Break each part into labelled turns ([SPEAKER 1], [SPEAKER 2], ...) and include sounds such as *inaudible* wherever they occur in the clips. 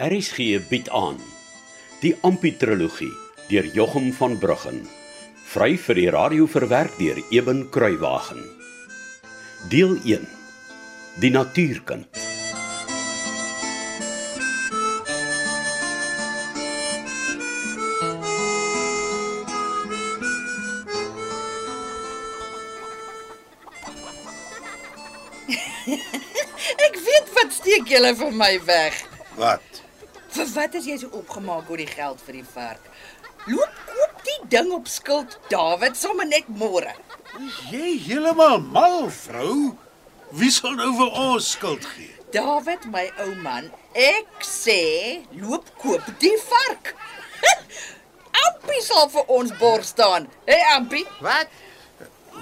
[SPEAKER 1] RSG bied aan die Amputrologie deur Jochum van Bruggen vry vir die radio verwerk deur Eben Kruiwagen deel 1 die natuurkind
[SPEAKER 2] Ek weet wat steek julle vir my weg.
[SPEAKER 3] Wat?
[SPEAKER 2] Vir wat is jy so opgemaak oor die geld vir die vark? Loop koop die ding op skuld Dawid sommer net môre.
[SPEAKER 3] Is jy heeltemal mal, vrou? Wie sal nou vir ons skuld gee?
[SPEAKER 2] Dawid, my ou man, ek sê loop koop die vark. *laughs* Ampie sal vir ons borg staan. Hey Ampie,
[SPEAKER 4] Wat?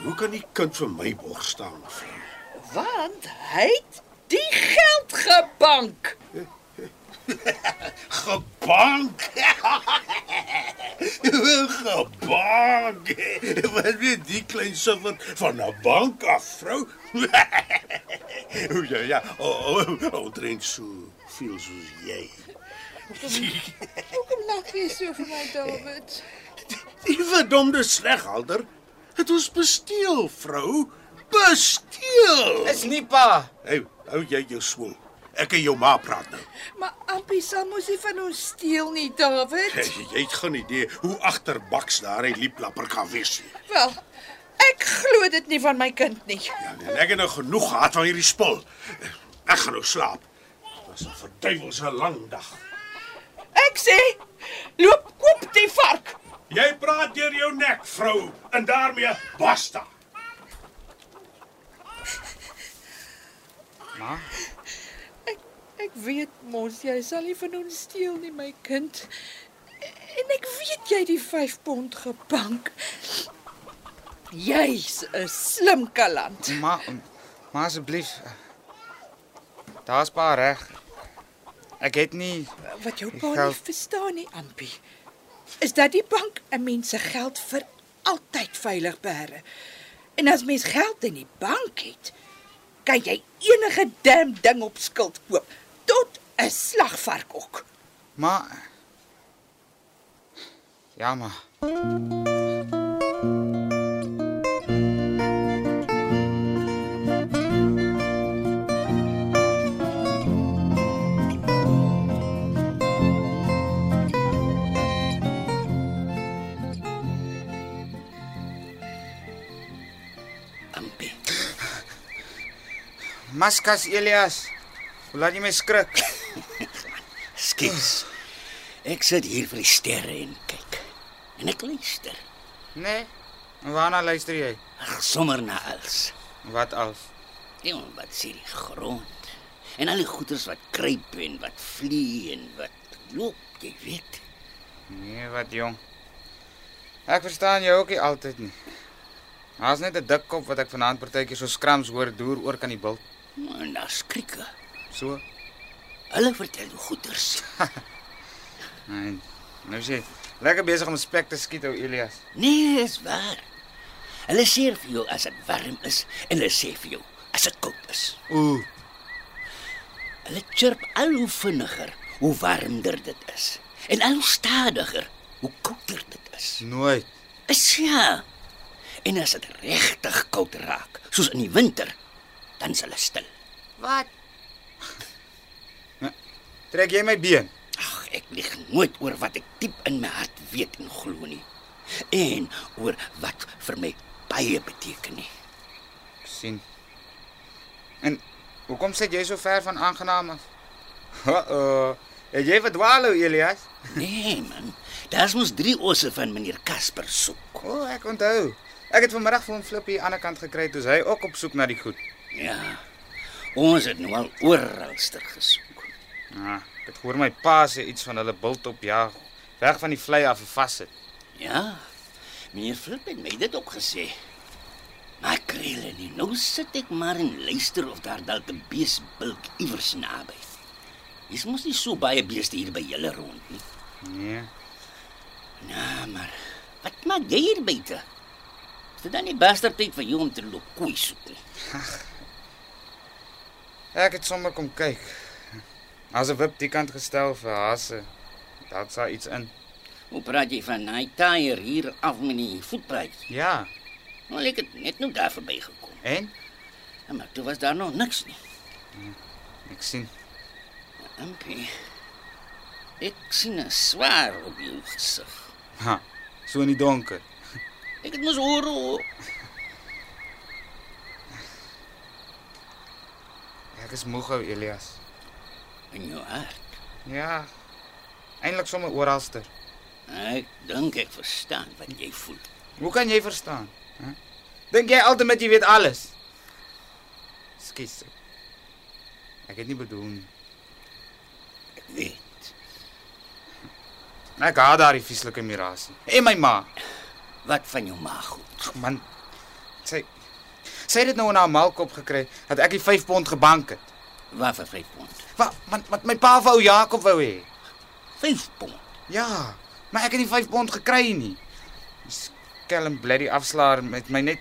[SPEAKER 3] Hoe kan die kind vir my borg staan, vrou?
[SPEAKER 2] want hy het die geld gebank.
[SPEAKER 3] Gebank. *laughs* Gebank. *laughs* Wat weet die klein suffer van 'n bank af, vrou? *laughs* O, ja ja, omtrent so veel soos jy.
[SPEAKER 2] Hoekom lag jy so vir my Dawid?
[SPEAKER 3] Die verdomde sleghalder het ons besteel, vrou. Besteel.
[SPEAKER 4] Dis nie pa.
[SPEAKER 3] Hey, hou jy jou swoel. Ek en jou ma praat nou.
[SPEAKER 2] Maar Ampie sal mos nie van ons steel nie, Dawid.
[SPEAKER 3] Hey, jy het geen idee hoe agterbaks daai lieplapper kan wees nie.
[SPEAKER 2] Wel, ek glo dit nie van my kind nie.
[SPEAKER 3] Ja, en ek het nou genoeg gehad van hierdie spul. Ek gaan nou slaap. Dit was 'n verduiwelse lang dag.
[SPEAKER 2] Ek sê, loop koop die vark.
[SPEAKER 3] Jy praat deur jou nek, vrou, en daarmee basta.
[SPEAKER 4] Ma,
[SPEAKER 2] Ek weet mos jy sal nie van ons steel nie, my kind. En ek weet jy het die 5 pond gebank. Jy's 'n slim kaland.
[SPEAKER 4] ma, ma asseblief. Daar's pa reg. Ek het nie
[SPEAKER 2] Wat jou pa nie
[SPEAKER 4] Geld.
[SPEAKER 2] verstaan nie, Ampie, is dat die bank 'n mens se geld vir altyd veilig beheer. En as mens geld in die bank het, kan jy enige dam ding op skuld koop, tot 'n slagvark ook.
[SPEAKER 4] ma Ja, ma.
[SPEAKER 2] Ampie.
[SPEAKER 4] Maskas Elias. Hoe laat jy my
[SPEAKER 5] *laughs*
[SPEAKER 4] skrik?
[SPEAKER 5] Skiks. Ek sit hier vir die sterre en kyk. En ek luister.
[SPEAKER 4] Nee. En waarna luister jy?
[SPEAKER 5] Ag, sommer na alles.
[SPEAKER 4] Wat als?
[SPEAKER 5] Iemand wat sien die grond. En al die goeters wat kruip en wat vlieg en wat loop, jy weet.
[SPEAKER 4] Nee, wat jong. Ek verstaan jou ook nie altyd nie. Haas net 'n dik kop wat ek vanaand partykeer so skrams hoor deur oor kan die bil.
[SPEAKER 5] En daar skrieke.
[SPEAKER 4] So.
[SPEAKER 5] Hulle vertel die goeters.
[SPEAKER 4] *laughs* Nee. Nou sê, lekker besig om spek te skiet ou Elias.
[SPEAKER 5] Nee, is waar. Hulle sê vir jou as dit warm is en hulle sê vir jou as dit koud is.
[SPEAKER 4] Ooh.
[SPEAKER 5] Hulle chirp al hoe vinniger hoe warmer dit is en al hoe stadiger hoe kouder dit is.
[SPEAKER 4] Nooit.
[SPEAKER 5] Is ja. En as dit regtig koud raak, soos in die winter, dan is hulle stil.
[SPEAKER 4] Wat? Trek jy my been?
[SPEAKER 5] Ag, ek lieg nooit oor wat ek diep in my hart weet en glo nie. En oor wat vir my baie beteken nie.
[SPEAKER 4] Ek sien. En hoekom sit jy so ver van aangenaam af? Uh-oh. Het jy verdwaal ou Elias?
[SPEAKER 5] Nee man, daar's mos drie osse van meneer Casper soek.
[SPEAKER 4] O, oh, ek onthou. Ek het vanmiddag vir hom Flippie aan die ander kant gekry toe hy ook op soek na die goed.
[SPEAKER 5] Ja. Ons het nou al oralster gesoek.
[SPEAKER 4] Ja, ek het hoor my pa sê iets van hulle bult op jag, weg van die vlei af en vassit.
[SPEAKER 5] Ja. Meneer Flip het my dit ook gesê. Maar ek kry hulle nie. Nou sit ek maar en luister of daar dalk 'n beesbilk iewers naby. Dis mos nie so baie beeste hier by julle rond nie.
[SPEAKER 4] Nee.
[SPEAKER 5] Ja, maar wat maak jy hier buite? Is dit dan nie bester tyd vir jou om te loop koei soek nie?
[SPEAKER 4] Ek het sommer kom kyk. As 'n wip die kant gestel vir hasse. Dalk sal iets in.
[SPEAKER 5] Hoe praat jy van daai tyre hier af met die voetpad?
[SPEAKER 4] Ja,
[SPEAKER 5] Maar ek het net nou daar verbygekom.
[SPEAKER 4] en
[SPEAKER 5] Ja, Maar toe was daar nog niks nie.
[SPEAKER 4] ek sien
[SPEAKER 5] Impie. Ek sien 'n swaar op jou gesig.
[SPEAKER 4] ha, so in die donker.
[SPEAKER 5] Ek het mos hoor hoor.
[SPEAKER 4] Ek is moeg ou Elias.
[SPEAKER 5] in jou hart.
[SPEAKER 4] Ja. Eindelik sommer oralster.
[SPEAKER 5] Ek dink ek verstaan wat jy voel.
[SPEAKER 4] Hoe kan jy verstaan? Hè? Dink jy altyd met jy weet alles? Skus. Ek het nie bedoel nie.
[SPEAKER 5] Ek weet.
[SPEAKER 4] Ek haat daardie vieslike mirasie. En my ma.
[SPEAKER 5] Wat van jou maag goed.
[SPEAKER 4] Ag, Man, sy sy het dit nou in haar maalkop gekry dat ek die 5 pond gebank het.
[SPEAKER 5] Waar vir 5 pond?
[SPEAKER 4] Wat man, wat my pa wou Jakob wou hê.
[SPEAKER 5] 5 pond.
[SPEAKER 4] Ja, maar ek het nie 5 pond gekry nie. Die Skelm bly die afslaer met my net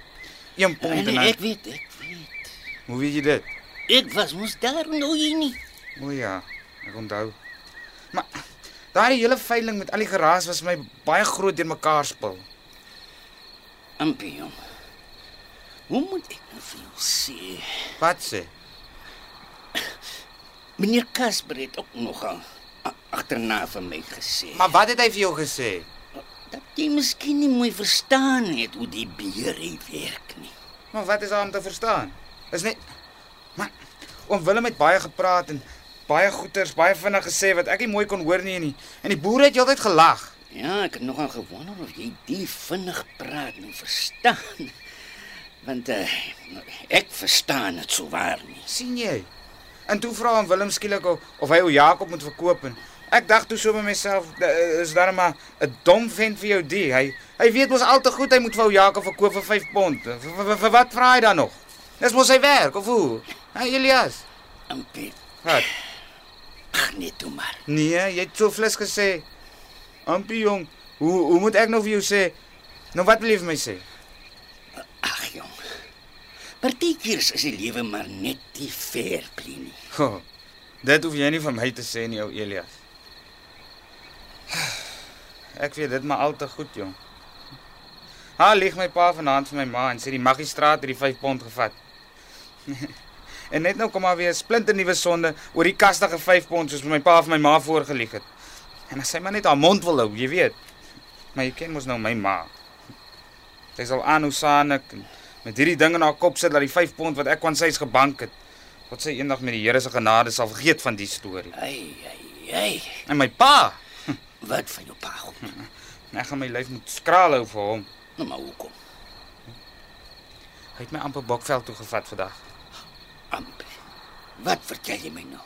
[SPEAKER 4] 1
[SPEAKER 5] Nee,
[SPEAKER 4] pond en
[SPEAKER 5] nee, ek
[SPEAKER 4] dan.
[SPEAKER 5] weet, ek weet.
[SPEAKER 4] Hoe weet jy dit?
[SPEAKER 5] Ek was mos daar nou jy nie.
[SPEAKER 4] O ja, ek onthou. Maar daai hele veiling met al die geraas was my baie groot deurmekaar spil.
[SPEAKER 5] Ampion. Hoe moet ek nou vir jou sê?
[SPEAKER 4] Wat sê?
[SPEAKER 5] Meneer Casper het ook nogal a- agterna vir my gesê.
[SPEAKER 4] Maar wat het hy vir jou gesê?
[SPEAKER 5] dat jy miskien nie mooi verstaan het hoe die beheer hier werk nie.
[SPEAKER 4] Maar wat is daar om te verstaan? Is net maar oom Willem het baie gepraat en baie goeters, baie vinnig gesê wat ek nie mooi kon hoor nie en die, en die boere het heeltyd gelag.
[SPEAKER 5] Ja, ek het nogal gewonder of jy die vinnig praat en verstaan. Want uh, ek verstaan dit sou waar nie.
[SPEAKER 4] sien jy? En toe vra hom Willem skielik of, of hy ou Jakob moet verkoop en ek dacht toe so by myself da- is daar maar 'n dom vent vir jou die. Hy hy weet mos al te goed hy moet vir ou Jakob verkoop vir 5 pond. Vir, vir, vir wat vra hy dan nog? Dis mos sy werk of hoe? Hey Elias.
[SPEAKER 5] Amper
[SPEAKER 4] Wat?
[SPEAKER 5] ag nee toe maar.
[SPEAKER 4] Nee, jy het so flis gesê. Ampie jong, hoe hoe moet ek nou vir jou sê? Nou wat wil jy vir my sê?
[SPEAKER 5] Ag jong. Partykeer is die lewe maar net die fair play nie.
[SPEAKER 4] Oh, *laughs* dit hoef jy nie van my te sê nie, ou Elias. *sighs* Ek weet dit maar al te goed, jong. Ha, lieg my pa vanaand vir my ma en sê die magistraat het die 5 pond gevat. *laughs* en net nou kom maar weer 'n splinter nuwe sonde oor die kastige 5 pond soos my pa vir my ma voorgelieg het. En as sy maar net haar mond wil hou, jy weet. Maar jy ken mos nou my ma. Sy sal aan hoe saanik en met hierdie ding in haar kop sit dat die 5 pond wat ek aan sy is gebank het Wat sy eendag met die Here se genade sal vergeet van die storie.
[SPEAKER 5] Ai ai ai.
[SPEAKER 4] En my pa,
[SPEAKER 5] Wat van jou pa goed?
[SPEAKER 4] ek gaan my lyf moet skraal hou vir hom.
[SPEAKER 5] Nou maar hoekom?
[SPEAKER 4] Hy het my amper Bokveld toe gevat vandag.
[SPEAKER 5] Amper. Wat vertel jy my nou?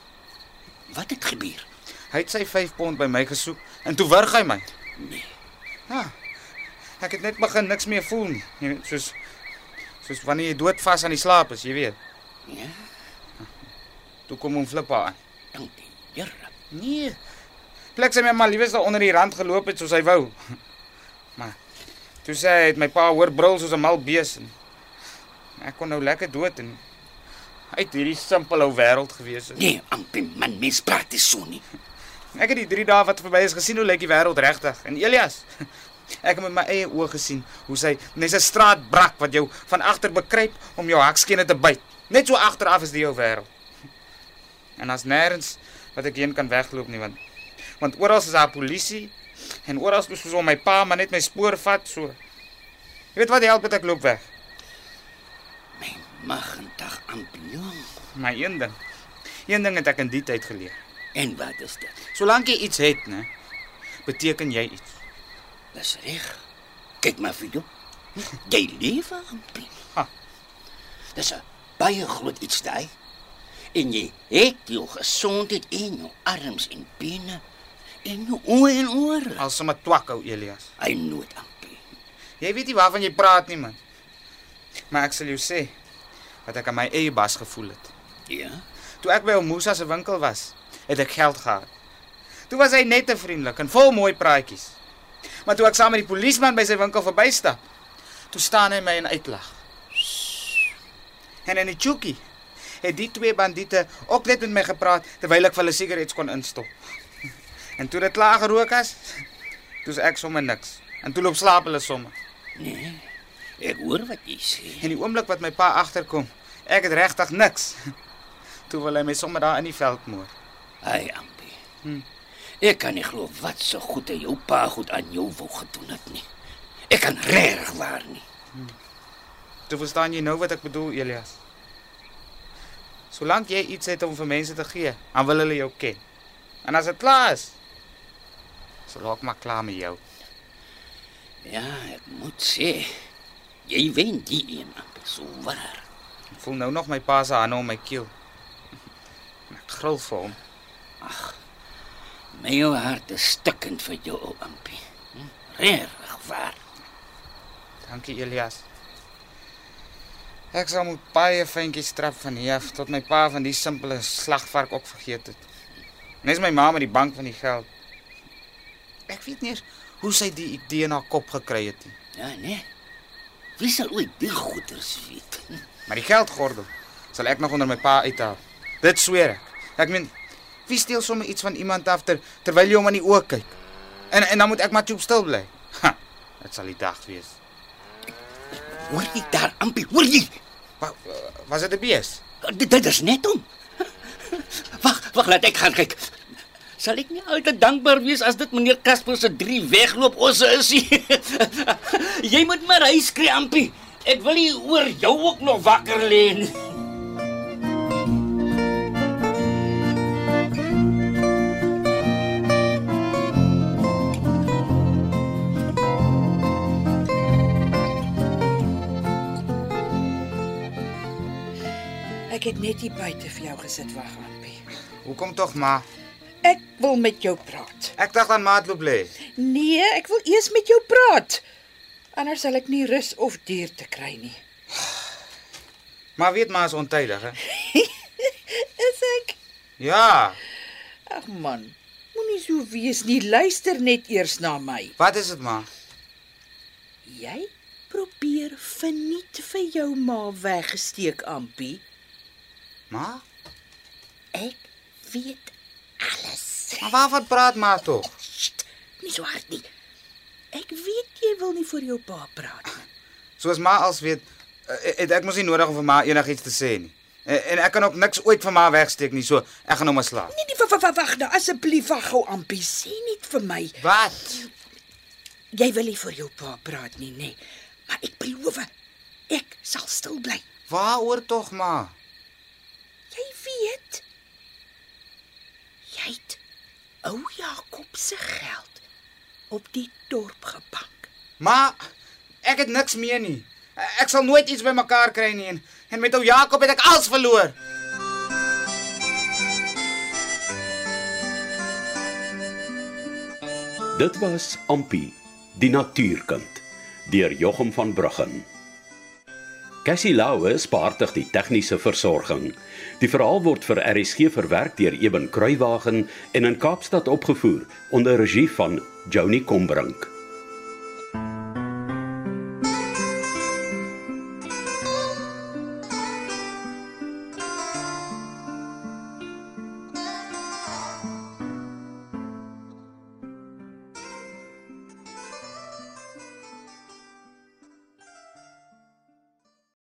[SPEAKER 5] Wat het gebeur?
[SPEAKER 4] Hy het sy 5 pond by my gesoek en toe wurg hy my.
[SPEAKER 5] Nee.
[SPEAKER 4] Ja. Ek het net begin niks meer voel nie. Jy weet, soos soos wanneer jy doodvas aan die slaap is, jy weet.
[SPEAKER 5] Ja,
[SPEAKER 4] Toe kom hom flippa aan.
[SPEAKER 5] dankie. Jare.
[SPEAKER 4] Nee. Plek sy my maar liewes daar onder die rand geloop het soos hy wou. *laughs* Maar toe sê hy het my pa hoor brul soos 'n mal bees en ek kon nou lekker dood en uit hierdie simpel ou wêreld gewees het.
[SPEAKER 5] Nee, amper man, mens praat nie so nie.
[SPEAKER 4] Ek het die 3 dae wat verby is gesien hoe lyk die wêreld regtig. En Elias, *laughs* ek het met my eie oë gesien hoe sy net 'n straat brak wat jou van agter bekruip om jou hakskene te byt. Net so agteraf is die jou wêreld. *laughs* En as nêrens wat ek heen kan wegloop nie want want oral is daar polisie en oral is soos om my pa maar net my spoor vat so. Jy weet wat help dit ek loop weg.
[SPEAKER 5] My magendag ampion.
[SPEAKER 4] Maar een ding. Een ding het ek in die tyd geleer.
[SPEAKER 5] En wat is dit?
[SPEAKER 4] Solank jy iets het, né, beteken jy iets.
[SPEAKER 5] Dis reg. Kyk maar vir jou. Jy lewe amper.
[SPEAKER 4] Ah.
[SPEAKER 5] Dis 'n baie groot iets daai. En jy het jou gesondheid en jou arms en bene en jou oë en ore.
[SPEAKER 4] Al sommer twak ou Elias.
[SPEAKER 5] Hy nood amper.
[SPEAKER 4] Jy weet nie waarvan jy praat nie, man. Maar ek sal jou sê wat ek aan my eie bas gevoel het.
[SPEAKER 5] Ja.
[SPEAKER 4] Toe ek by ou Musa se winkel was, het ek geld gehad. Toe was hy net te vriendelik en vol mooi praatjies. Maar toe ek saam met die polisieman by sy winkel verbystap, toe staan hy my en uitlag. En in die chuki het die twee bandiete ook net met my gepraat terwyl ek vir hulle sigarette kon instop. En toe dit klaar gerook is, toe is ek sommer niks. En toe loop slaap hulle sommer.
[SPEAKER 5] Nee. Ek hoor wat jy sê.
[SPEAKER 4] En die oomblik wat my pa agterkom, ek het regtig niks. *laughs* Toe wil hy my sommer daar in die veld moer.
[SPEAKER 5] Ai, Ampi. Ek kan nie glo wat so goed hy jou pa goed aan jou wou gedoen het nie. Ek kan regtig waar nie.
[SPEAKER 4] Toe verstaan jy nou wat ek bedoel, Elias. Solank jy iets het om vir mense te gee, dan wil hulle jou ken. En as dit klaar is, sal ek maar klaar met jou.
[SPEAKER 5] Ja, ek moet sê jy wen die een, Ampi, so waar.
[SPEAKER 4] Ek voel nou nog my pa se hande om my keel. *laughs* En Ek gril vir hom.
[SPEAKER 5] My jou hart is stikkend vir jou, ou Ampi. Hm? Regtig waar.
[SPEAKER 4] Dankie, Elias. Ek sal moet baie fynkies trap van hier af tot my pa van die simpele slagvark ook vergeet het. Net my ma met die bank van die geld. Ek weet nie eens hoe sy die idee na kop gekry het nie.
[SPEAKER 5] Ja, nee. Wie sal ooit die goeters weet? Hm,
[SPEAKER 4] Maar die geldgordel sal ek nog onder my pa uithaal. Dit sweer ek. Ek meen, wie steel sommer iets van iemand af ter, terwyl jy hom aan die oë kyk? En en dan moet ek maar toe stil bly. Ha, Dit sal die dag wees.
[SPEAKER 5] Hoor jy daar, Ampi? Hoor jy?
[SPEAKER 4] Wa, was dit 'n bees?
[SPEAKER 5] Dit, dit is net hom. *laughs* Wag, wag, laat ek gaan kyk. Sal ek nie altyd dankbaar wees as dit meneer Casper se drie wegloop osse is nie. *laughs* Jy moet maar huis kry, Ampi. Ek wil nie oor jou ook nog wakker lê nie.
[SPEAKER 2] Ek het net hier buite vir jou gesit wag, Ampie.
[SPEAKER 4] Hoekom tog maar?
[SPEAKER 2] Ek wil met jou praat.
[SPEAKER 4] Ek dacht aan maatloop lê.
[SPEAKER 2] Nee, ek wil eers met jou praat. Anders sal ek nie rus of duur te kry nie.
[SPEAKER 4] Maar weet maar is ontydig hè.
[SPEAKER 2] Is ek?
[SPEAKER 4] Ja.
[SPEAKER 2] Ag man, moenie so wees nie. Luister net eers na my.
[SPEAKER 4] Wat is dit maar?
[SPEAKER 2] Jy probeer verniet vir jou ma weggesteek, Ampie.
[SPEAKER 4] Ma?
[SPEAKER 2] Ek weet alles.
[SPEAKER 4] Maar waarvan praat ma tog?
[SPEAKER 2] Sst, nie so hard nie. Ek weet jy wil nie vir jou pa praat nie.
[SPEAKER 4] Soos ma als weet, eh, het ek mos nie nodig om vir ma enigiets te sê nie. En, en ek kan ook niks ooit van ma wegsteek nie, so ek gaan nou maar slaap.
[SPEAKER 2] Nee, nee, wa- wa- wa- wag nou, asseblief wag gou, Ampie. Sê net vir my,
[SPEAKER 4] Wat?
[SPEAKER 2] jy wil nie vir jou pa praat nie, nê? Nee. Maar ek beloof, ek sal stil bly.
[SPEAKER 4] Waaroor tog ma?
[SPEAKER 2] Jy weet. Jy het ou Jakob se geld op die dorp gebank.
[SPEAKER 4] Ma, ek het niks meer nie. Ek sal nooit iets bymekaar kry nie en, en met ou Jakob het ek alles verloor.
[SPEAKER 1] Dit was Ampi, die natuurkind, deur Jochum van Bruggen. Cassie Lauers beheerdig die tegniese versorging. Die verhaal word vir RSG verwerk deur Eben Kruiwagen en in Kaapstad opgevoer onder regie van Joni Combrink.